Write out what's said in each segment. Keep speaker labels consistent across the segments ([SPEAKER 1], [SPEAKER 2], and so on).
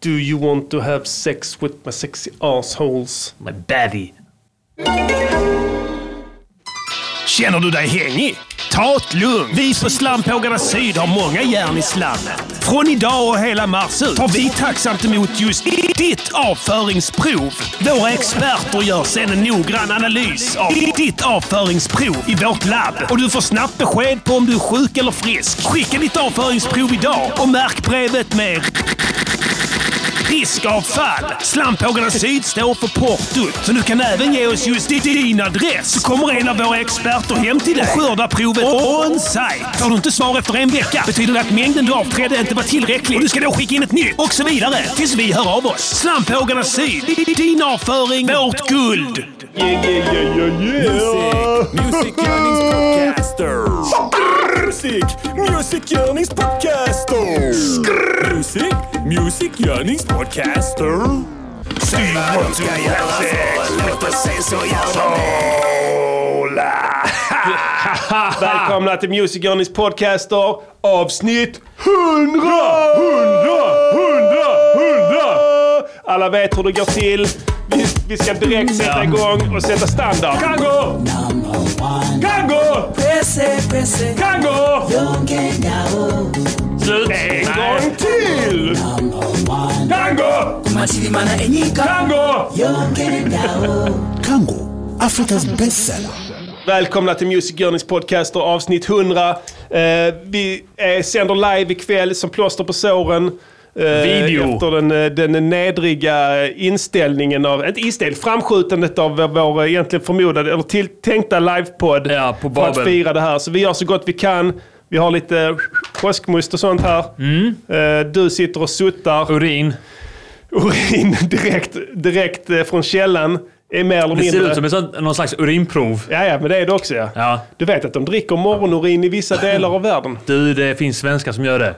[SPEAKER 1] Do you want to have sex with my sexy assholes?
[SPEAKER 2] My baddie.
[SPEAKER 3] Känner du dig hängig? Ta ett lugn. Vi på Slampågarna Syd har många järn i slammet. Från idag och hela mars ut tar vi tacksamt emot just ditt avföringsprov. Våra experter gör sedan en noggrann analys av ditt avföringsprov i vårt labb. Och du får snabbt besked på om du är sjuk eller frisk. Skicka ditt avföringsprov idag och märk brevet med Riskavfall! Slampågarna Syd står för portot. Så du kan även ge oss just di- din adress. Så kommer en av våra experter hem till dig och skördar provet on-site. Får du inte svar efter en vecka betyder det att mängden du avträdde inte var tillräcklig och du ska då skicka in ett nytt. Och så vidare. Tills vi hör av oss. Slampågarna Syd. Di- Din avföring. Vårt guld!
[SPEAKER 1] Yeah, yeah, yeah, yeah,
[SPEAKER 4] Music, music podcaster. Music, music podcaster. Music, music podcaster. Säg vad du gör sex, låt oss se så jävla
[SPEAKER 1] Välkomna till Music Journeys podcaster avsnitt 100! 100! 100! 100! Alla vet hur det går till. Vi, vi ska direkt sätta igång och sätta standard. Mm, Kango! Kango! Kango!
[SPEAKER 2] Slut.
[SPEAKER 1] En gång till! Kango! Kango!
[SPEAKER 5] Kango, Afrikas bestseller.
[SPEAKER 1] Välkomna till Music Journeys podcaster avsnitt 100. Eh, vi eh, sänder live ikväll som plåster på såren. eh,
[SPEAKER 2] Video.
[SPEAKER 1] Efter den, eh, den nedriga inställningen av, inte inställning, framskjutandet av vår- vår egentligen förmodade, eller tilltänkta livepodd.
[SPEAKER 2] Ja, på
[SPEAKER 1] för att
[SPEAKER 2] Babel.
[SPEAKER 1] fira det här. Så vi gör så gott vi kan. Vi har lite påskmust och sånt här.
[SPEAKER 2] Mm.
[SPEAKER 1] Eh, du sitter och suttar.
[SPEAKER 2] Urin.
[SPEAKER 1] Urin direkt, direkt eh, från källan. Är mer eller
[SPEAKER 2] Det
[SPEAKER 1] mindre.
[SPEAKER 2] ser ut som en sån, någon slags urinprov.
[SPEAKER 1] Ja, ja, men det är det också ja.
[SPEAKER 2] Ja.
[SPEAKER 1] Du vet att de dricker morgonurin i vissa delar av världen?
[SPEAKER 2] Du, det finns svenskar som gör det.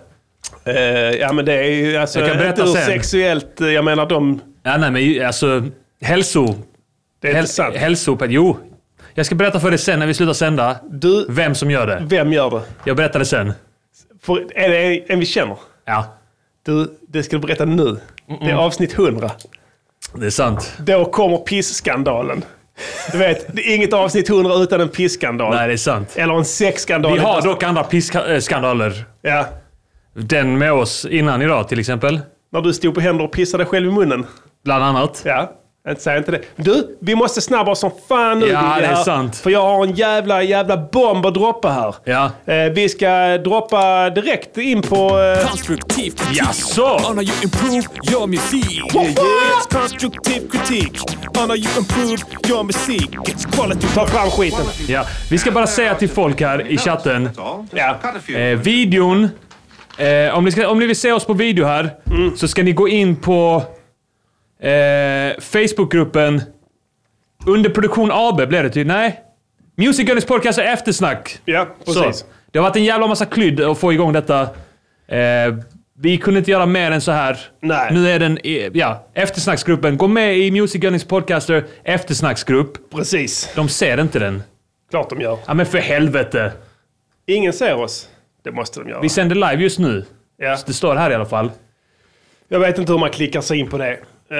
[SPEAKER 1] Eh, ja, men det är ju alltså,
[SPEAKER 2] Jag kan berätta
[SPEAKER 1] inte ur
[SPEAKER 2] sen.
[SPEAKER 1] sexuellt... eh, Jag menar de...
[SPEAKER 2] Ja, nej, men ju- alltså hälso...
[SPEAKER 1] Det är inte sant.
[SPEAKER 2] Häl- hälsoped. Jo. Jag ska berätta för dig sen när vi slutar sända.
[SPEAKER 1] Du,
[SPEAKER 2] Vem som gör det.
[SPEAKER 1] vem gör det?
[SPEAKER 2] Jag berättar det sen.
[SPEAKER 1] För, är det en vi känner?
[SPEAKER 2] Ja,
[SPEAKER 1] Du, det ska du berätta nu. Det är avsnitt 100.
[SPEAKER 2] det är sant.
[SPEAKER 1] Då kommer pissskandalen. Du vet, det är inget avsnitt 100 utan en pissskandal.
[SPEAKER 2] Nej, det är sant.
[SPEAKER 1] Eller en sexskandal.
[SPEAKER 2] Vi har dock andra pissskandaler.
[SPEAKER 1] Ja.
[SPEAKER 2] Den med oss innan idag till exempel.
[SPEAKER 1] När du stod på händer och pissade själv i munnen.
[SPEAKER 2] Bland annat.
[SPEAKER 1] Ja, inte säg inte det. Du, vi måste snabba oss som fan nu.
[SPEAKER 2] Ja,
[SPEAKER 1] Billy,
[SPEAKER 2] det är
[SPEAKER 1] här.
[SPEAKER 2] sant.
[SPEAKER 1] För jag har en jävla, jävla bomb att droppa här.
[SPEAKER 2] Ja.
[SPEAKER 1] Eh, vi ska droppa direkt in på... Eh,
[SPEAKER 4] Konstruktiv
[SPEAKER 2] Jaså?
[SPEAKER 4] on how you improve your music. Yeah, yeah, it's constructive critique on how you improve your music. It's quality.
[SPEAKER 1] ta fram skiten.
[SPEAKER 2] Ja. Vi ska bara säga till folk här i chatten.
[SPEAKER 1] Ja.
[SPEAKER 2] Eh, videon. Eh, om, ni ska, om ni vill se oss på video här så ska ni gå in på eh, Facebookgruppen Underproduktion AB blev det till. Nej? Music Gunners Podcast är eftersnack.
[SPEAKER 1] Ja, precis.
[SPEAKER 2] Så. Det har varit en jävla massa klydd att få igång detta. Eh, vi kunde inte göra mer än så här.
[SPEAKER 1] Nej.
[SPEAKER 2] Nu är den, eh, ja, eftersnacksgruppen. Gå med i Music Gunnings Podcaster eftersnacksgrupp.
[SPEAKER 1] Precis.
[SPEAKER 2] De ser inte den.
[SPEAKER 1] Klart de gör.
[SPEAKER 2] Ja men för helvete.
[SPEAKER 1] Ingen ser oss. Det måste de göra.
[SPEAKER 2] Vi sänder live just nu.
[SPEAKER 1] Ja.
[SPEAKER 2] Det står här i alla fall.
[SPEAKER 1] Jag vet inte hur man klickar sig in på det. Eh,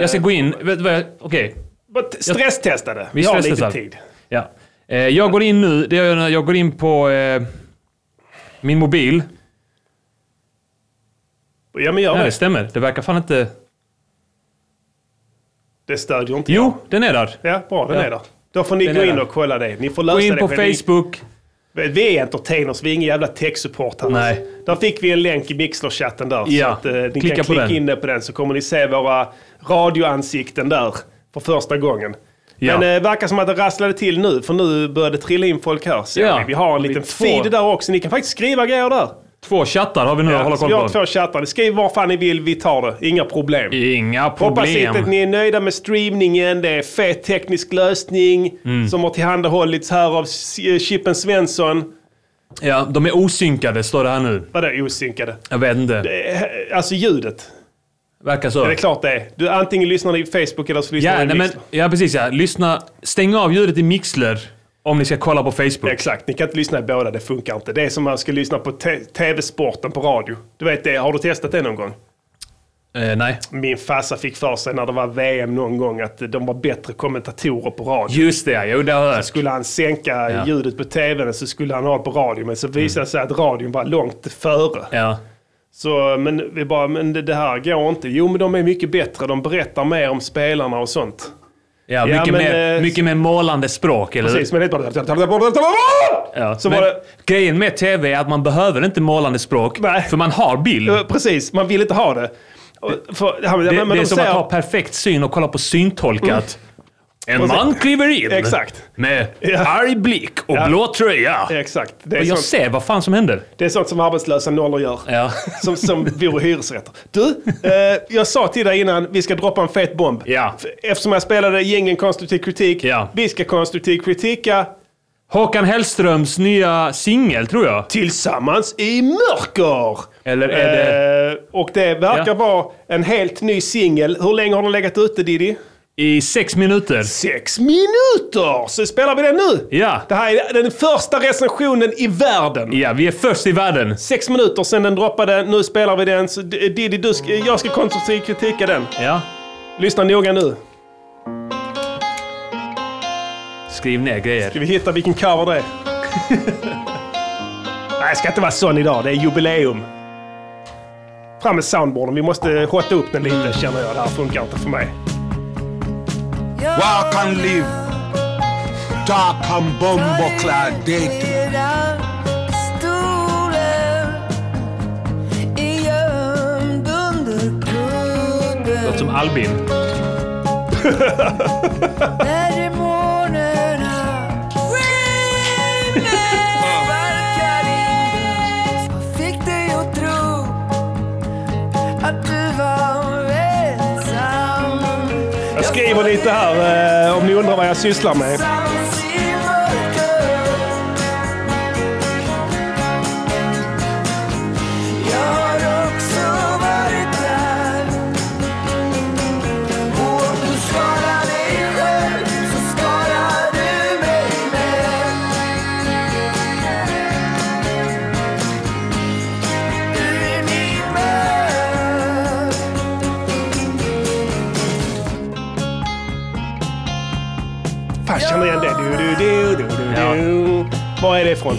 [SPEAKER 2] Jag ska gå in. Vet du vad jag... Okej.
[SPEAKER 1] but stresstesta det. Vi,
[SPEAKER 2] Vi
[SPEAKER 1] har lite
[SPEAKER 2] stresstestar.
[SPEAKER 1] tid.
[SPEAKER 2] Ja. Eh, jag går in nu. Det gör jag, när jag går in på eh, min mobil.
[SPEAKER 1] Ja, men gör
[SPEAKER 2] Nej, det
[SPEAKER 1] det.
[SPEAKER 2] stämmer. Det verkar fan inte...
[SPEAKER 1] Det stödjer inte
[SPEAKER 2] Jo, den är där.
[SPEAKER 1] jag. Ja, bra. Den
[SPEAKER 2] Ja.
[SPEAKER 1] är där. Då får ni
[SPEAKER 2] Den
[SPEAKER 1] gå
[SPEAKER 2] är
[SPEAKER 1] in
[SPEAKER 2] där.
[SPEAKER 1] och kolla det. Ni får lösa
[SPEAKER 2] Gå in
[SPEAKER 1] det
[SPEAKER 2] på
[SPEAKER 1] själva. Ni-
[SPEAKER 2] Facebook.
[SPEAKER 1] Vi är entertainers, vi är ingen jävla tech-support här.
[SPEAKER 2] Nej.
[SPEAKER 1] Där fick vi en länk i Mixler-chatten där.
[SPEAKER 2] Ja,
[SPEAKER 1] Så att, eh, ni
[SPEAKER 2] klicka
[SPEAKER 1] kan
[SPEAKER 2] på
[SPEAKER 1] klicka
[SPEAKER 2] den.
[SPEAKER 1] in på den så kommer ni se våra radioansikten där för första gången.
[SPEAKER 2] Ja.
[SPEAKER 1] Men eh, verkar som att det rasslade till nu, för nu började det trilla in folk här. ser
[SPEAKER 2] Ja.
[SPEAKER 1] vi. vi har en
[SPEAKER 2] Vi
[SPEAKER 1] liten
[SPEAKER 2] två.
[SPEAKER 1] feed där också, ni kan faktiskt skriva grejer där.
[SPEAKER 2] Två chattar har vi nu att hålla
[SPEAKER 1] så vi har
[SPEAKER 2] koll på.
[SPEAKER 1] två chattar, skriv var fan ni vill, vi tar det. Inga problem.
[SPEAKER 2] Inga
[SPEAKER 1] Hoppas
[SPEAKER 2] problem.
[SPEAKER 1] inte att ni är nöjda med streamningen. Det är fet teknisk lösning
[SPEAKER 2] Mm.
[SPEAKER 1] som har tillhandahållits här av S- eh, Chippen Svensson.
[SPEAKER 2] Ja, de är osynkade, står det här nu.
[SPEAKER 1] Vadå osynkade?
[SPEAKER 2] Jag vet inte.
[SPEAKER 1] Eh, Alltså ljudet.
[SPEAKER 2] Verkar så.
[SPEAKER 1] Det är klart det är. Du antingen lyssnar ni i Facebook eller så lyssnar
[SPEAKER 2] Ja,
[SPEAKER 1] ni i
[SPEAKER 2] nej, men,
[SPEAKER 1] Mixler.
[SPEAKER 2] ja, precis ja. Lyssna. Stäng av ljudet i Mixler om ni ska kolla på Facebook.
[SPEAKER 1] Exakt, ni kan inte lyssna i båda, det funkar inte. Det är som man ska lyssna på te- TV-sporten på radio. Du vet det, har du testat det någon gång?
[SPEAKER 2] Eh, nej.
[SPEAKER 1] Min farsa fick för sig när det var VM någon gång att de var bättre kommentatorer på radio.
[SPEAKER 2] Just det, jo det har jag hört.
[SPEAKER 1] Skulle han sänka
[SPEAKER 2] Ja. Mm.
[SPEAKER 1] ljudet på tvn så skulle han ha det på radio. Men så visade det sig att radion var långt före.
[SPEAKER 2] Ja.
[SPEAKER 1] Så, men vi bara, men det, det här går inte. Jo, men de är mycket bättre. De berättar mer om spelarna och sånt.
[SPEAKER 2] Ja, mycket,
[SPEAKER 1] men,
[SPEAKER 2] mer,
[SPEAKER 1] eh,
[SPEAKER 2] mycket mer målande språk, eller
[SPEAKER 1] Precis, men det är bara...
[SPEAKER 2] Ja,
[SPEAKER 1] Så
[SPEAKER 2] men
[SPEAKER 1] var det...
[SPEAKER 2] Grejen med TV är att man behöver inte målande språk,
[SPEAKER 1] Nej.
[SPEAKER 2] för man har bild.
[SPEAKER 1] Ja, Precis, man vill inte ha det. Och För, ja, men,
[SPEAKER 2] det
[SPEAKER 1] men
[SPEAKER 2] det
[SPEAKER 1] de
[SPEAKER 2] är som
[SPEAKER 1] säger-
[SPEAKER 2] att ha perfekt syn och kolla på syntolkat. En
[SPEAKER 1] Och sen-
[SPEAKER 2] man kliver in
[SPEAKER 1] Mm. Exakt.
[SPEAKER 2] med
[SPEAKER 1] Ja.
[SPEAKER 2] arg blick och blå tröja.
[SPEAKER 1] Exakt. Det är,
[SPEAKER 2] Och jag
[SPEAKER 1] sånt,
[SPEAKER 2] ser vad fan som händer.
[SPEAKER 1] det är sånt som arbetslösa nollor gör.
[SPEAKER 2] Ja.
[SPEAKER 1] Som, som vore hyresrätter. Du, eh, jag sa till dig innan, vi ska droppa en fet bomb.
[SPEAKER 2] Ja.
[SPEAKER 1] F- Eftersom jag spelade gängen konstruktiv kritik.
[SPEAKER 2] Ja.
[SPEAKER 1] Vi ska konstruktiv kritika
[SPEAKER 2] Håkan Hellströms nya singel, tror jag.
[SPEAKER 1] tillsammans i mörker.
[SPEAKER 2] Eller är det...
[SPEAKER 1] Eh, och det verkar
[SPEAKER 2] Ja.
[SPEAKER 1] vara en helt ny singel. Hur länge har den legat ute Diddy?
[SPEAKER 2] I sex minuter.
[SPEAKER 1] Sex minuter! Så spelar vi den nu!
[SPEAKER 2] Ja.
[SPEAKER 1] Det här är den första recensionen i världen.
[SPEAKER 2] Ja, vi är först i världen.
[SPEAKER 1] Sex minuter sedan den droppade, nu spelar vi den. Så D- Diddy, du ska, jag ska konstruktivt kritika den.
[SPEAKER 2] Ja.
[SPEAKER 1] Lyssna noga nu.
[SPEAKER 2] Skriv ner grejer.
[SPEAKER 1] Ska vi hitta vilken cover det är? Nej, jag ska inte vara sån idag. Det är jubileum. Fram med soundboarden. Vi måste hotta upp den lite känner jag. Det här funkar inte för mig.
[SPEAKER 5] Walk and live. Dark and bumbo clad dead.
[SPEAKER 2] Låter som Albin.
[SPEAKER 1] Jag skriver lite här eh, om ni undrar vad jag sysslar med. Fan, jag känner igen det. Du, du, du, du, du, du. Vad är det ifrån?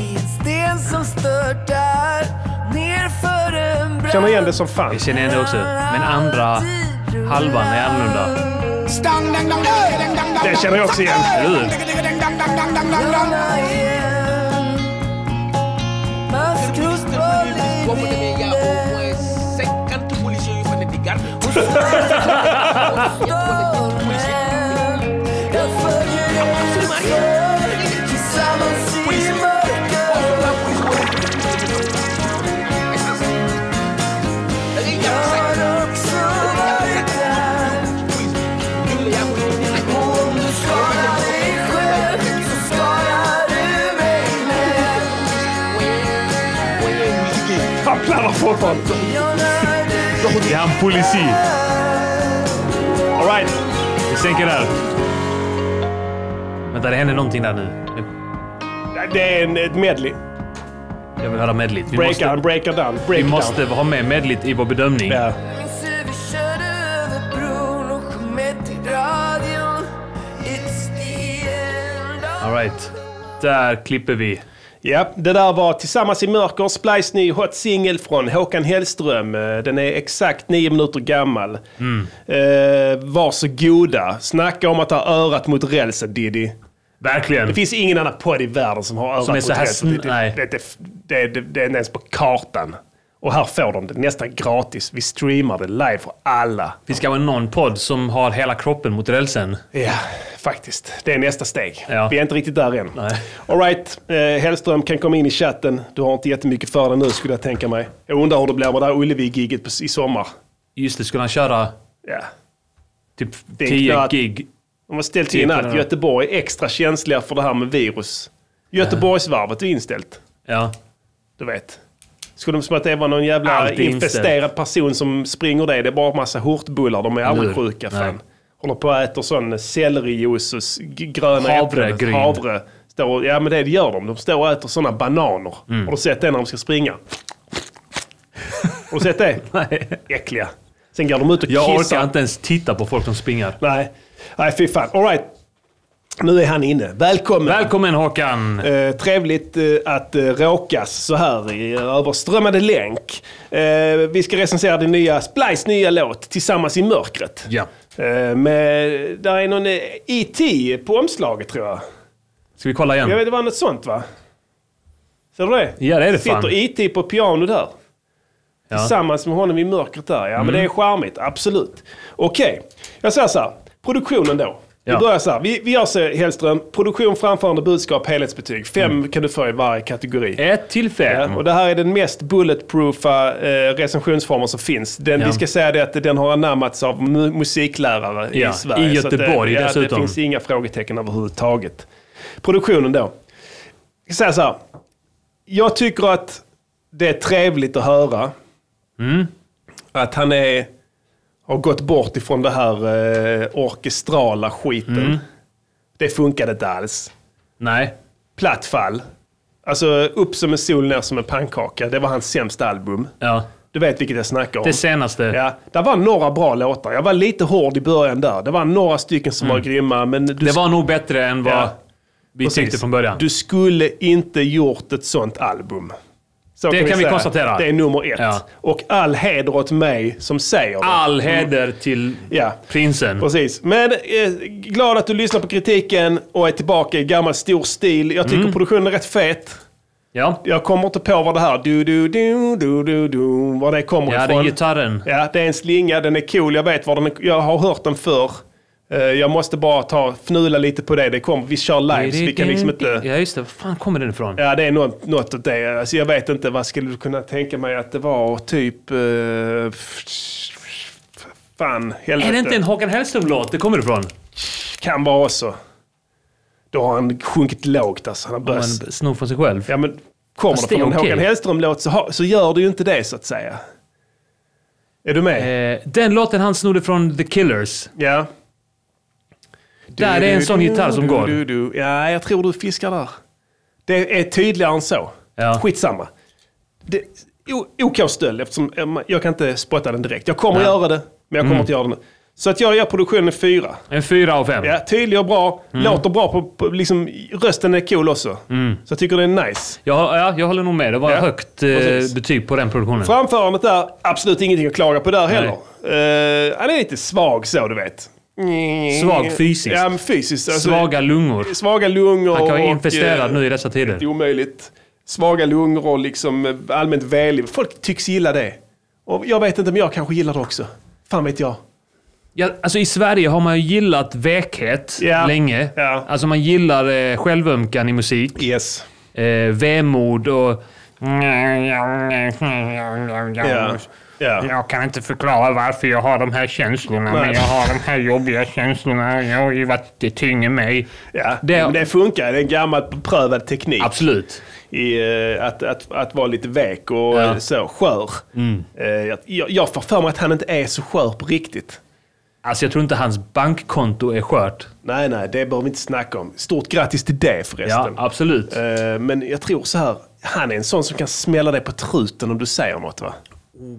[SPEAKER 1] Känner igen det som fan.
[SPEAKER 2] Jag känner igen det också. Men andra halvan är annorlunda.
[SPEAKER 1] Det känner jag också igen.
[SPEAKER 2] Eller hur?
[SPEAKER 1] Han pladdrar fortfarande.
[SPEAKER 2] Är han polisi?
[SPEAKER 1] Alright.
[SPEAKER 2] Vi sänker där. Vänta, det händer någonting där nu.
[SPEAKER 1] Det är en, ett medley.
[SPEAKER 2] Jag vill höra medlit. Vi
[SPEAKER 1] Break
[SPEAKER 2] måste,
[SPEAKER 1] down, break down,
[SPEAKER 2] vi
[SPEAKER 1] break
[SPEAKER 2] måste
[SPEAKER 1] down.
[SPEAKER 2] ha med medlit i vår bedömning.
[SPEAKER 1] Ja.
[SPEAKER 2] All right. Där klipper vi.
[SPEAKER 1] Ja, det där var Tillsammans i mörker, Splice ny hot singel från Håkan Hellström. Eh, Den är exakt nio minuter gammal. Mm. Eh, varsågoda. Snacka om att ha örat mot rälsen Diddy.
[SPEAKER 2] Verkligen.
[SPEAKER 1] Det finns ingen annan podd i världen som har örat
[SPEAKER 2] Som är
[SPEAKER 1] mot
[SPEAKER 2] så här
[SPEAKER 1] rälsen.
[SPEAKER 2] sn- nej.
[SPEAKER 1] Det, det, det, det, det är inte ens på kartan. Och här får de det nästan gratis. Vi streamar det live för alla.
[SPEAKER 2] Vi ska ha någon podd som har hela kroppen mot rälsen.
[SPEAKER 1] Ja, faktiskt. Det är nästa steg.
[SPEAKER 2] Ja.
[SPEAKER 1] Vi är inte riktigt där än.
[SPEAKER 2] Nej.
[SPEAKER 1] Alright, eh, Hellström kan komma in i chatten. Du har inte jättemycket för dig nu skulle jag tänka mig. Jag undrar hur det blir med det här Ullevi-giget på- i sommar.
[SPEAKER 2] Just det, skulle han köra
[SPEAKER 1] Ja.
[SPEAKER 2] typ
[SPEAKER 1] Det är
[SPEAKER 2] 10
[SPEAKER 1] knappt.
[SPEAKER 2] gig?
[SPEAKER 1] De har ställt in
[SPEAKER 2] Typen,
[SPEAKER 1] att
[SPEAKER 2] ja.
[SPEAKER 1] Göteborg är extra känsliga för det här med virus. Göteborgsvarvet är inställt.
[SPEAKER 2] Ja.
[SPEAKER 1] Du vet. Skulle de som att det var någon jävla
[SPEAKER 2] Allt är inställt.
[SPEAKER 1] infesterad person som springer det. Det är bara massa hortbullar. De är aldrig
[SPEAKER 2] hur?
[SPEAKER 1] sjuka.
[SPEAKER 2] Nej.
[SPEAKER 1] Fan. Håller på och äter sån sellerijuice och s- g- gröna
[SPEAKER 2] Havregryn.
[SPEAKER 1] äpplen. Havre. Står och, ja men det gör de. De står och äter såna bananer.
[SPEAKER 2] Mm.
[SPEAKER 1] Har du sett det när de ska springa? Har du sett det?
[SPEAKER 2] Nej.
[SPEAKER 1] Äckliga. Sen går de ut och
[SPEAKER 2] Jag
[SPEAKER 1] kissar.
[SPEAKER 2] orkar inte ens titta på folk som springer.
[SPEAKER 1] Nej, Nej fy fan. All right. Nu är han inne. Välkommen.
[SPEAKER 2] Välkommen Håkan!
[SPEAKER 1] Eh, trevligt eh, att eh, råkas så här i överströmmade länk. Eh, vi ska recensera din nya, Splice nya låt, Tillsammans i mörkret.
[SPEAKER 2] Ja.
[SPEAKER 1] Eh, med, där är någon eh, E.T. på omslaget tror jag.
[SPEAKER 2] Ska vi kolla
[SPEAKER 1] Jag
[SPEAKER 2] igen?
[SPEAKER 1] vet, det var något sånt va? Ser du det?
[SPEAKER 2] Ja, det är det fan.
[SPEAKER 1] Sitter E.T. på piano där.
[SPEAKER 2] Ja. Mm.
[SPEAKER 1] Tillsammans med honom i mörkret där. Ja, men det är charmigt. Absolut. Okej, jag säger så här. Produktionen då. Vi
[SPEAKER 2] Ja.
[SPEAKER 1] börjar så här. Vi, vi gör så här, Hellström. Produktion, framförande, budskap, helhetsbetyg. Fem
[SPEAKER 2] Mm.
[SPEAKER 1] kan du få i varje kategori.
[SPEAKER 2] Ett till fem.
[SPEAKER 1] Ja, och det här är den mest bulletproofa eh, recensionsformen som finns. Den,
[SPEAKER 2] Ja.
[SPEAKER 1] Vi ska säga det att den har anammats av mu- musiklärare
[SPEAKER 2] Ja,
[SPEAKER 1] i Sverige.
[SPEAKER 2] i
[SPEAKER 1] så att
[SPEAKER 2] Göteborg
[SPEAKER 1] det, Ja, det
[SPEAKER 2] dessutom.
[SPEAKER 1] finns inga frågetecken överhuvudtaget. Produktionen då. Jag ska säga så här. Jag tycker att det är trevligt att höra.
[SPEAKER 2] Mm.
[SPEAKER 1] Att han är, har gått bort ifrån det här eh, orkestrala skiten.
[SPEAKER 2] Mm.
[SPEAKER 1] Det funkade inte alls
[SPEAKER 2] Nej.
[SPEAKER 1] platt fall. Alltså upp som en sol, ner som en pannkaka. Det var hans sämsta album.
[SPEAKER 2] Ja.
[SPEAKER 1] Du vet vilket jag snackar om.
[SPEAKER 2] Det senaste.
[SPEAKER 1] Ja, där var några bra låtar. Jag var lite hård i början där. Det var några stycken som var grymma, men du,
[SPEAKER 2] Mm. Det var nog bättre än vad
[SPEAKER 1] Ja.
[SPEAKER 2] vi tyckte från början.
[SPEAKER 1] du skulle inte gjort ett sånt album. Så
[SPEAKER 2] Det kan vi konstatera.
[SPEAKER 1] Det är nummer ett.
[SPEAKER 2] Ja. Ah.
[SPEAKER 1] Och all heder åt mig som säger det.
[SPEAKER 2] All heder till
[SPEAKER 1] Ja.
[SPEAKER 2] prinsen.
[SPEAKER 1] Precis. Men eh, glad att du lyssnar på kritiken och är tillbaka i gammal stor stil. Jag
[SPEAKER 2] Mm.
[SPEAKER 1] tycker produktionen är rätt fet.
[SPEAKER 2] Ja.
[SPEAKER 1] Jag kommer inte på vad det här du du du du du du var det kommer
[SPEAKER 2] Ja, det är
[SPEAKER 1] ifrån.
[SPEAKER 2] gitarren.
[SPEAKER 1] ja, det är en slinga, den är cool, jag vet var den är, jag har hört den förr. Eh, Jag måste bara ta, fnula lite på det, det kommer, vi kör live så vi kan liksom inte...
[SPEAKER 2] Ja, just det. Var fan kommer den ifrån?
[SPEAKER 1] Ja, det är något, något åt det. Alltså, jag vet inte, vad skulle du kunna tänka mig att det var? Typ... eh, fan, helvete.
[SPEAKER 2] Är det inte en Håkan Hellström-låt det kommer ifrån?
[SPEAKER 1] Kan vara också. Då har han sjunkit lågt alltså, han har
[SPEAKER 2] Man
[SPEAKER 1] börjat...
[SPEAKER 2] snor från sig själv.
[SPEAKER 1] Ja, men kommer
[SPEAKER 2] Fast
[SPEAKER 1] det
[SPEAKER 2] det är
[SPEAKER 1] från en
[SPEAKER 2] okej.
[SPEAKER 1] Håkan Hellström-låt så, ha- så gör du ju inte det så att säga. Är du med?
[SPEAKER 2] Eh, den låten han snodde från The Killers.
[SPEAKER 1] Ja.
[SPEAKER 2] Där är en sån gitarr som går.
[SPEAKER 1] Du, du, du. Ja, jag tror du fiskar där. Det är tydligare än så.
[SPEAKER 2] Ja.
[SPEAKER 1] Skitsamma. Det, o- OK stöld eftersom eh, jag kan inte spotta den direkt. Jag kommer göra det, men jag kommer
[SPEAKER 2] Mm.
[SPEAKER 1] inte göra det nu. Så att jag gör produktionen fyra.
[SPEAKER 2] En fyra av fem.
[SPEAKER 1] Ja, tydlig och bra.
[SPEAKER 2] Mm.
[SPEAKER 1] Låter bra på, på liksom, rösten är cool också. Så jag tycker det är nice.
[SPEAKER 2] Jag, ja, jag håller nog med. Det var
[SPEAKER 1] Ja,
[SPEAKER 2] högt eh,
[SPEAKER 1] precis.
[SPEAKER 2] betyg på den produktionen.
[SPEAKER 1] Framförandet där, absolut ingenting att klaga på där heller. Eh, han är lite svag så, du vet.
[SPEAKER 2] Svag fysiskt.
[SPEAKER 1] Ja, men fysiskt. Alltså,
[SPEAKER 2] Svaga lungor.
[SPEAKER 1] Svaga lungor.
[SPEAKER 2] Han kan vara
[SPEAKER 1] och,
[SPEAKER 2] infesterad
[SPEAKER 1] eh,
[SPEAKER 2] nu i dessa
[SPEAKER 1] Det är
[SPEAKER 2] tider.
[SPEAKER 1] omöjligt. Svaga lungor och liksom eh, allmänt väliv. Folk tycks gilla det. Och jag vet inte, men jag kanske gillar det också. Fan vet jag.
[SPEAKER 2] Ja, alltså I Sverige har man ju gillat vekhet
[SPEAKER 1] Ja.
[SPEAKER 2] länge.
[SPEAKER 1] Ja.
[SPEAKER 2] Alltså man gillar eh, självömkan i musik.
[SPEAKER 1] Yes.
[SPEAKER 2] eh, vemod och...
[SPEAKER 1] Ja. Ja.
[SPEAKER 6] Jag kan inte förklara varför jag har de här känslorna, men jag har de här jobbiga känslorna. Jag har ju varit, det tynger mig.
[SPEAKER 1] ja.
[SPEAKER 2] Det-
[SPEAKER 1] Men det funkar. Det är en gammal beprövad teknik.
[SPEAKER 2] Absolut.
[SPEAKER 1] i, eh, att, att, att vara lite väk och
[SPEAKER 2] Ja. Mm.
[SPEAKER 1] eh, så skör. Eh, jag- jag, jag får för mig att han inte är så skör på riktigt.
[SPEAKER 2] Alltså jag tror inte hans bankkonto är skört.
[SPEAKER 1] Nej, nej, det behöver vi inte snacka om. Stort grattis till det
[SPEAKER 2] Ja,
[SPEAKER 1] förresten.
[SPEAKER 2] absolut.
[SPEAKER 1] Eh, men jag tror så här, han är en sån som kan smälla dig på truten om du säger något va?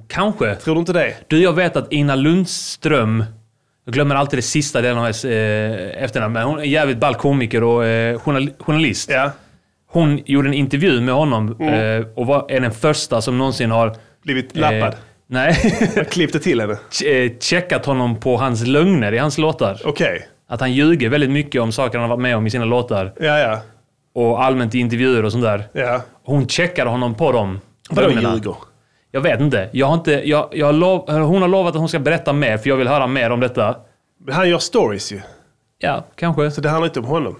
[SPEAKER 2] Kanske.
[SPEAKER 1] Tror du inte det?
[SPEAKER 2] Du, jag vet att Ina Lundström, jag glömmer alltid det sista delen av hennes eh, efternamn, men hon är en jävligt ball komiker och eh, journal- journalist.
[SPEAKER 1] Ja. Mm.
[SPEAKER 2] Hon gjorde en intervju med honom eh, och var, är den första som någonsin har...
[SPEAKER 1] Blivit lappad.
[SPEAKER 2] Eh, nej.
[SPEAKER 1] Jag klippte till henne.
[SPEAKER 2] che- eh, checkat honom på hans lögner i hans låtar.
[SPEAKER 1] Okej.
[SPEAKER 2] Att han ljuger väldigt mycket om saker han har varit med om i sina låtar.
[SPEAKER 1] Ja, ja.
[SPEAKER 2] Och allmänt i intervjuer och sånt där.
[SPEAKER 1] Ja.
[SPEAKER 2] Hon checkade honom på dem.
[SPEAKER 1] Vadå
[SPEAKER 2] lögnerna.
[SPEAKER 1] ljuger?
[SPEAKER 2] Jag vet inte. Jag har inte jag, jag har lov, hon har lovat att hon ska berätta mer, för jag vill höra mer om detta.
[SPEAKER 1] Men Han gör stories ju.
[SPEAKER 2] Ja, kanske.
[SPEAKER 1] Så det handlar inte om honom.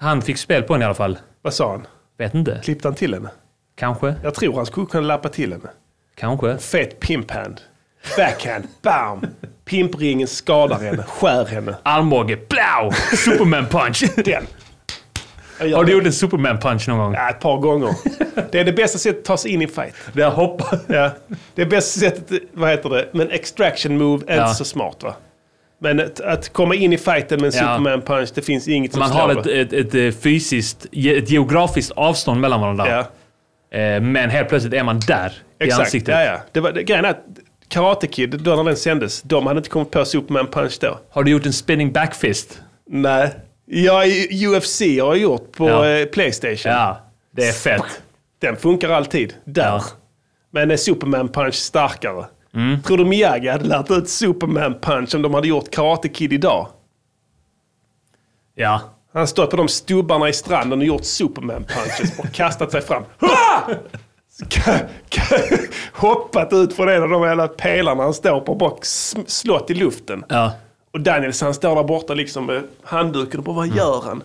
[SPEAKER 2] Han fick spel på henne i alla fall.
[SPEAKER 1] Vad sa han?
[SPEAKER 2] Vet inte.
[SPEAKER 1] Klippte han till henne?
[SPEAKER 2] Kanske.
[SPEAKER 1] Jag tror han skulle kunna lappa till henne.
[SPEAKER 2] Kanske.
[SPEAKER 1] fet pimphand. Backhand, bam! Pimpringen skadar henne, skär henne.
[SPEAKER 2] Armbåge. Plow! Superman punch!
[SPEAKER 1] Den. Jag gör
[SPEAKER 2] har du
[SPEAKER 1] det.
[SPEAKER 2] gjort en Superman punch någon gång?
[SPEAKER 1] Ja, ett par gånger. Det är det bästa sättet att ta sig in i en fight.
[SPEAKER 2] Där hoppar...
[SPEAKER 1] Ja. Det är bästa sättet, vad heter det, men extraction move är
[SPEAKER 2] Ja.
[SPEAKER 1] inte så smart va? Men att, att komma in i fighten med en
[SPEAKER 2] Ja.
[SPEAKER 1] superman punch, det finns inget som
[SPEAKER 2] Man
[SPEAKER 1] slår
[SPEAKER 2] har
[SPEAKER 1] det.
[SPEAKER 2] ett, ett, ett eh, fysiskt, ge- ett geografiskt avstånd mellan varandra.
[SPEAKER 1] Ja,
[SPEAKER 2] Eh, Men helt plötsligt är man där i
[SPEAKER 1] exakt.
[SPEAKER 2] ansiktet.
[SPEAKER 1] Ja, ja. Det var, det, grejen är att Karate Kid, då när den sändes, de hade inte kommit på Superman Punch då.
[SPEAKER 2] Har du gjort en spinning backfist?
[SPEAKER 1] Nej. Ja, i- UFC har jag gjort på
[SPEAKER 2] Ja.
[SPEAKER 1] eh, Playstation.
[SPEAKER 2] Ja, det är fett.
[SPEAKER 1] Den funkar alltid. Där.
[SPEAKER 2] Ja.
[SPEAKER 1] Men är Superman Punch starkare?
[SPEAKER 2] Mm.
[SPEAKER 1] Tror du Miyagi hade lärt ut Superman Punch om de hade gjort Karate Kid idag?
[SPEAKER 2] Ja.
[SPEAKER 1] Han står på de stubbarna i stranden och gjort Superman punches och kastat sig fram. Ha! Ka- ka- Hoppat ut från en av de jävla pelarna han står på och bara sm- slått i luften.
[SPEAKER 2] Ja.
[SPEAKER 1] Och Daniels han står där borta liksom med handduken och bara vad gör han?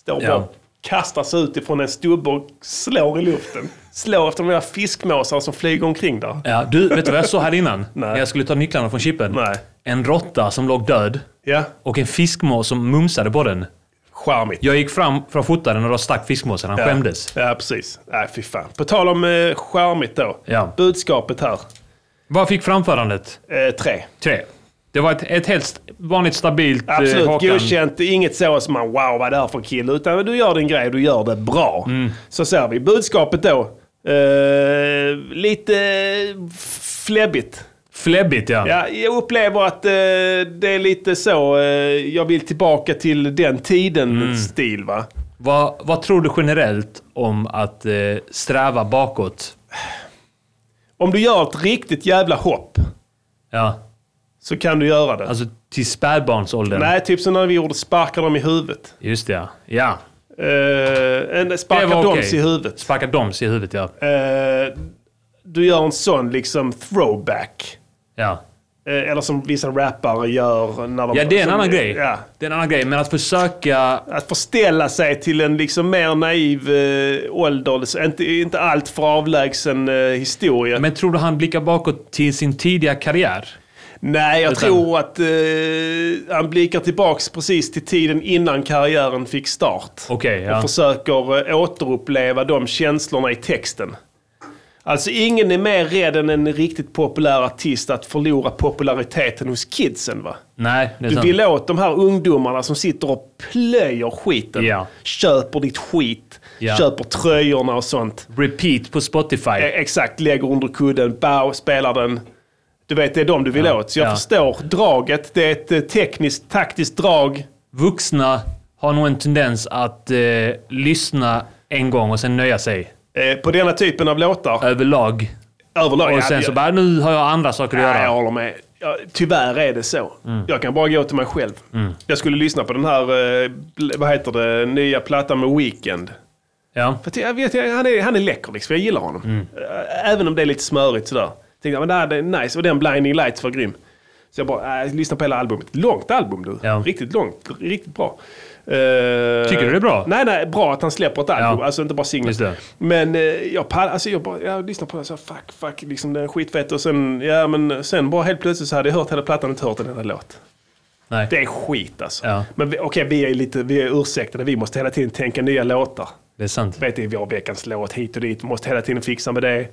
[SPEAKER 1] Står och
[SPEAKER 2] Ja.
[SPEAKER 1] bara kastar sig ut ifrån en stubbe och slår i luften. Slår efter de där fiskmåsarna som flyger omkring där.
[SPEAKER 2] ja. Du, vet du vad jag såg här innan?
[SPEAKER 1] Nej.
[SPEAKER 2] När jag skulle ta nycklarna från chippen.
[SPEAKER 1] Nej.
[SPEAKER 2] En råtta som låg död
[SPEAKER 1] Ja,
[SPEAKER 2] och en fiskmås som mumsade på den.
[SPEAKER 1] charmigt.
[SPEAKER 2] Jag gick fram för att fota den och då stack fiskmåsen. Han skämdes.
[SPEAKER 1] Ja, precis. Nej, fy fan. På tal om eh, charmigt då.
[SPEAKER 2] Ja.
[SPEAKER 1] Budskapet här.
[SPEAKER 2] Vad fick framförandet?
[SPEAKER 1] Eh, tre.
[SPEAKER 2] Tre. Det var ett, ett helt st- vanligt stabilt eh,
[SPEAKER 1] Absolut
[SPEAKER 2] Håkan.
[SPEAKER 1] godkänt. Inget så som man wow vad är det här för kille. Utan du gör din grej, du gör det bra.
[SPEAKER 2] Mm.
[SPEAKER 1] Så ser vi. Budskapet då. eh, lite fläbbigt.
[SPEAKER 2] Fläbbigt ja.
[SPEAKER 1] Ja, jag upplever att eh, det är lite så, eh, jag vill tillbaka till den tiden
[SPEAKER 2] Mm.
[SPEAKER 1] stil va.
[SPEAKER 2] Vad, vad tror du generellt om att eh, sträva bakåt?
[SPEAKER 1] Om du gör ett riktigt jävla hopp
[SPEAKER 2] Ja.
[SPEAKER 1] så kan du göra det.
[SPEAKER 2] Alltså till spädbarnsåldern.
[SPEAKER 1] Nej, typ som när vi gjorde sparka dem i huvudet.
[SPEAKER 2] Just det ja. ja.
[SPEAKER 1] Eh, en
[SPEAKER 2] Det
[SPEAKER 1] sparka
[SPEAKER 2] var
[SPEAKER 1] doms
[SPEAKER 2] okej.
[SPEAKER 1] i huvudet.
[SPEAKER 2] Sparka doms i huvudet ja.
[SPEAKER 1] Eh, du gör en sån liksom throwback.
[SPEAKER 2] Ja,
[SPEAKER 1] Eh, Eller som vissa rappare gör när de...
[SPEAKER 2] ja det är en
[SPEAKER 1] som-
[SPEAKER 2] annan grej.
[SPEAKER 1] Ja.
[SPEAKER 2] Det är en annan grej. Men att försöka...
[SPEAKER 1] Att förställa sig till en liksom mer naiv eh, ålder. Så Inte, inte allt för avlägsen eh, historia.
[SPEAKER 2] Men tror du han blickar bakåt till sin tidiga karriär?
[SPEAKER 1] Nej, jag
[SPEAKER 2] Utan-
[SPEAKER 1] tror att eh, han blickar tillbaks precis till tiden innan karriären fick start.
[SPEAKER 2] Okej,
[SPEAKER 1] Och
[SPEAKER 2] ja.
[SPEAKER 1] försöker eh, återuppleva de känslorna i texten. Alltså ingen är mer rädd än en riktigt populär artist att förlora populariteten hos kidsen va?
[SPEAKER 2] Nej, det är
[SPEAKER 1] Du
[SPEAKER 2] sant.
[SPEAKER 1] vill åt de här ungdomarna som sitter och plöjer skiten.
[SPEAKER 2] Ja.
[SPEAKER 1] Köper ditt skit.
[SPEAKER 2] Ja.
[SPEAKER 1] Köper tröjorna och sånt.
[SPEAKER 2] Repeat på Spotify.
[SPEAKER 1] Eh, Exakt, lägger under kudden, bow, spelar den. Du vet, det är de du vill åt. Så jag
[SPEAKER 2] Ja.
[SPEAKER 1] förstår draget. Det är ett eh, tekniskt, taktiskt drag.
[SPEAKER 2] Vuxna har nog en tendens att eh, lyssna en gång och sen nöja sig.
[SPEAKER 1] eh, På denna typen av låtar.
[SPEAKER 2] Överlag.
[SPEAKER 1] Överlag. ja,
[SPEAKER 2] Och sen
[SPEAKER 1] det-
[SPEAKER 2] så bara, nu har jag andra saker att
[SPEAKER 1] Nej, jag
[SPEAKER 2] göra.
[SPEAKER 1] håller med. Ja, tyvärr är det så.
[SPEAKER 2] Mm.
[SPEAKER 1] Jag kan bara gå till mig själv. Jag skulle lyssna på den här, eh, bl- vad heter det, nya plattan med Weekend.
[SPEAKER 2] Ja.
[SPEAKER 1] För att jag vet, jag- han, är, han är läcker liksom. Jag gillar honom.
[SPEAKER 2] Mm.
[SPEAKER 1] Äh, Även om det är lite smörigt sådär. Tänkte jag, men det här det är nice. Och den Blinding Lights var grym. Så jag bara, äh, lyssna på hela albumet. Långt album du.
[SPEAKER 2] Ja.
[SPEAKER 1] Riktigt långt. Riktigt bra.
[SPEAKER 2] Tycker du det är bra?
[SPEAKER 1] Nej, nej. Bra att han släpper ett album.
[SPEAKER 2] Ja.
[SPEAKER 1] Alltså inte bara
[SPEAKER 2] Just
[SPEAKER 1] singlar.
[SPEAKER 2] det.
[SPEAKER 1] Men eh, jag pall, alltså jag, bara, jag lyssnade på den så här, fuck, fuck, liksom den är skitfett. Och sen, ja men sen bara helt plötsligt så hade jag hört hela plattan och inte hört en enda låt.
[SPEAKER 2] Nej.
[SPEAKER 1] Det är skit alltså.
[SPEAKER 2] Ja.
[SPEAKER 1] Men vi- okej, vi är lite, vi är ursäktade. Vi måste hela tiden tänka nya låtar
[SPEAKER 2] Det är sant.
[SPEAKER 1] vet inte, vi har veckans låt hit och dit, måste hela tiden fixa med det.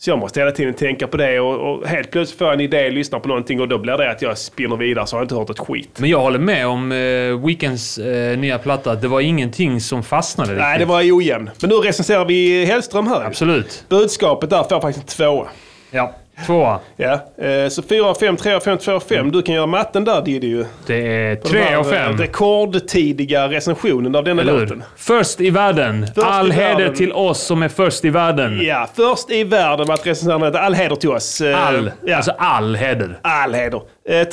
[SPEAKER 1] Så jag måste hela tiden tänka på det och, och helt plötsligt får jag en idé, lyssnar på någonting och då blir det att jag spinner vidare så har jag inte hört ett skit.
[SPEAKER 2] Men jag håller med om eh, Weekends eh, nya platta. Det var ingenting som fastnade
[SPEAKER 1] Nej, det
[SPEAKER 2] riktigt.
[SPEAKER 1] var ojämn. Men nu recenserar vi Hellström här. ju.
[SPEAKER 2] Absolut.
[SPEAKER 1] Budskapet där får faktiskt en tvåa.
[SPEAKER 2] Ja. Tvåa.
[SPEAKER 1] Ja. eh, Så 4 av 5, 3 av 5, 2 av 5. Du kan göra matten där Diddy ju.
[SPEAKER 2] Det är Mm. tre av fem.
[SPEAKER 1] eh, Rekordtidiga recensionen av denna
[SPEAKER 2] Eller hur?
[SPEAKER 1] låten.
[SPEAKER 2] Först i världen.
[SPEAKER 1] i
[SPEAKER 2] All heder
[SPEAKER 1] världen.
[SPEAKER 2] till oss som är först i världen.
[SPEAKER 1] Ja, först i världen med att recensera den. All heder till oss. Eh,
[SPEAKER 2] All.
[SPEAKER 1] Ja.
[SPEAKER 2] Alltså all heder.
[SPEAKER 1] all heder.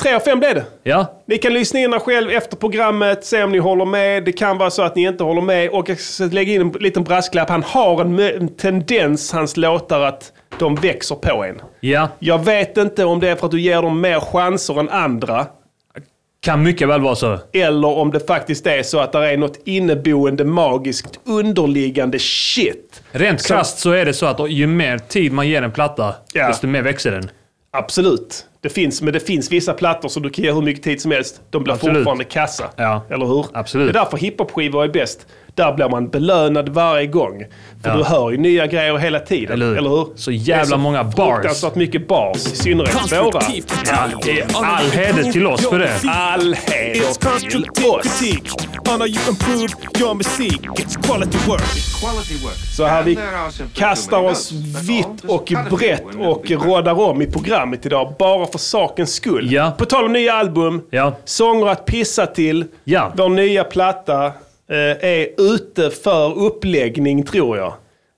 [SPEAKER 1] 3 av 5 blev det.
[SPEAKER 2] Ja.
[SPEAKER 1] Ni kan lyssna in er själv efter programmet, se om ni håller med. Det kan vara så att ni inte håller med. Och jag ska lägga in en liten brasklapp. Han har en, mö- en tendens, hans låtar, att de växer på en.
[SPEAKER 2] Ja.
[SPEAKER 1] Jag vet inte om det är för att du ger dem mer chanser än andra.
[SPEAKER 2] Kan mycket väl vara så.
[SPEAKER 1] Eller om det faktiskt är så att det är något inneboende magiskt underliggande shit.
[SPEAKER 2] Rent krasst så är det så att ju mer tid man ger en platta,
[SPEAKER 1] Ja.
[SPEAKER 2] desto mer växer den.
[SPEAKER 1] Absolut. Det finns, men det finns vissa plattor som du kan ge hur mycket tid som helst. De blir
[SPEAKER 2] Absolut.
[SPEAKER 1] fortfarande kassa.
[SPEAKER 2] Ja.
[SPEAKER 1] Eller hur?
[SPEAKER 2] Absolut.
[SPEAKER 1] Det är därför hiphop-skivor är bäst. Där blir man belönad varje gång. För
[SPEAKER 2] Ja.
[SPEAKER 1] du hör ju nya grejer hela tiden.
[SPEAKER 2] Eller hur? Så jävla
[SPEAKER 1] Det är
[SPEAKER 2] många bars.
[SPEAKER 1] Fruktansvärt mycket bars. I synnerhet svåra.
[SPEAKER 4] Konstruktiv kritik.
[SPEAKER 2] det är all heder till oss för det.
[SPEAKER 1] All heder
[SPEAKER 4] It's
[SPEAKER 1] till
[SPEAKER 4] constructive
[SPEAKER 1] oss.
[SPEAKER 4] critique on how you improve your music. It's quality work.
[SPEAKER 1] Så här vi kastar oss vitt och brett och råddar om i programmet idag. Bara för sakens skull.
[SPEAKER 2] Ja.
[SPEAKER 1] På tal om nya album.
[SPEAKER 2] Ja.
[SPEAKER 1] Sånger att pissa till.
[SPEAKER 2] Ja.
[SPEAKER 1] Vår nya platta eh, är ute för uppläggning tror jag.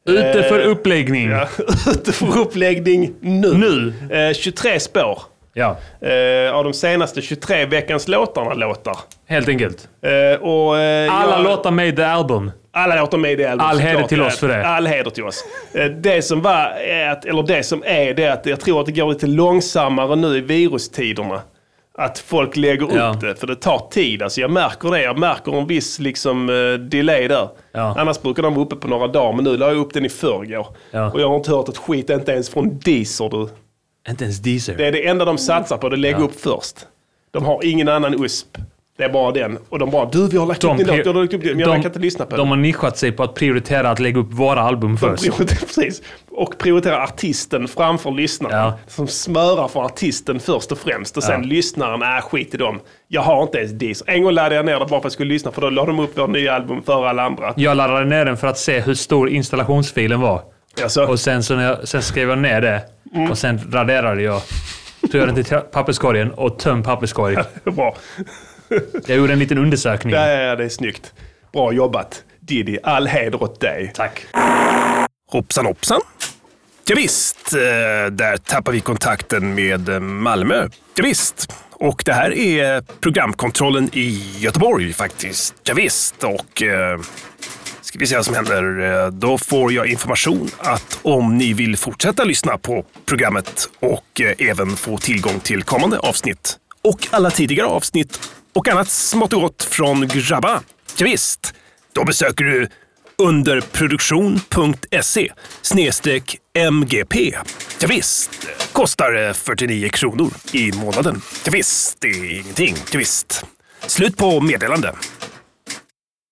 [SPEAKER 2] Ute
[SPEAKER 1] Eh,
[SPEAKER 2] för uppläggning. Ja.
[SPEAKER 1] ute för uppläggning nu.
[SPEAKER 2] Nu.
[SPEAKER 1] Eh, 23 spår. Eh, av de senaste 23 veckans låtarna låtar.
[SPEAKER 2] Helt enkelt.
[SPEAKER 1] Eh, och, eh,
[SPEAKER 2] Alla
[SPEAKER 1] jag-
[SPEAKER 2] låtar made the album.
[SPEAKER 1] alla låter med i det albumet.
[SPEAKER 2] All heder
[SPEAKER 1] såklart.
[SPEAKER 2] till oss för det.
[SPEAKER 1] All heder till oss. Eh, Det som var, är att, eller det som är, det är att jag tror att det går lite långsammare nu i virustiderna. Att folk lägger upp
[SPEAKER 2] Ja.
[SPEAKER 1] det, för det tar tid. Alltså jag märker det. Jag märker en viss liksom, eh, delay där.
[SPEAKER 2] Ja.
[SPEAKER 1] Annars brukar de vara uppe på några dagar, men nu la jag upp den i förrgår.
[SPEAKER 2] Ja.
[SPEAKER 1] Och jag har inte hört ett skit, inte ens från Deezer du.
[SPEAKER 2] Inte ens Deezer.
[SPEAKER 1] Det är det enda de satsar på, det lägger upp först. De har ingen annan USP. Det är bara den. Och de bara, du vi har lagt upp din låt, du har lagt upp din. Men jag kan inte lyssna på den.
[SPEAKER 2] De har nischat sig på att prioritera att lägga upp våra album först.
[SPEAKER 1] Prioriterar, precis. Och prioritera artisten framför lyssnaren.
[SPEAKER 2] Ja.
[SPEAKER 1] Som smörar för artisten först och främst. Och sen
[SPEAKER 2] Ja.
[SPEAKER 1] lyssnaren, äh skit i dem. Jag har inte ens Deezer. En gång laddade jag ner det bara för att jag skulle lyssna, för då la de upp vår nya album före alla andra.
[SPEAKER 2] Jag laddade ner den för att se hur stor installationsfilen var.
[SPEAKER 1] Alltså,
[SPEAKER 2] Och sen, så när jag, sen skrev jag ner det
[SPEAKER 1] Mm.
[SPEAKER 2] och sen raderade jag. Tog jag den till tra- papperskorgen och tömde papperskorgen.
[SPEAKER 1] bra.
[SPEAKER 2] Jag gjorde en liten undersökning.
[SPEAKER 1] Ja, ja, ja, det är snyggt. Bra jobbat. Diddy, all heder åt dig.
[SPEAKER 2] Tack.
[SPEAKER 3] Hoppsan hoppsan. Ja, visst, eh, där tappar vi kontakten med eh, Malmö. Ja, visst. Och det här är programkontrollen i Göteborg faktiskt. Ja, visst. och eh, ska vi se vad som händer. Eh, Då får jag information att om ni vill fortsätta lyssna på programmet och eh, även få tillgång till kommande avsnitt och alla tidigare avsnitt och annat smått och gott från grabbarna. Ja, visst. då besöker du underproduktion.se E snedstreck MGP. Ja, visst. kostar eh, 49 kronor i månaden. Ja, visst. det är ingenting. Ja, visst. Slut på meddelande.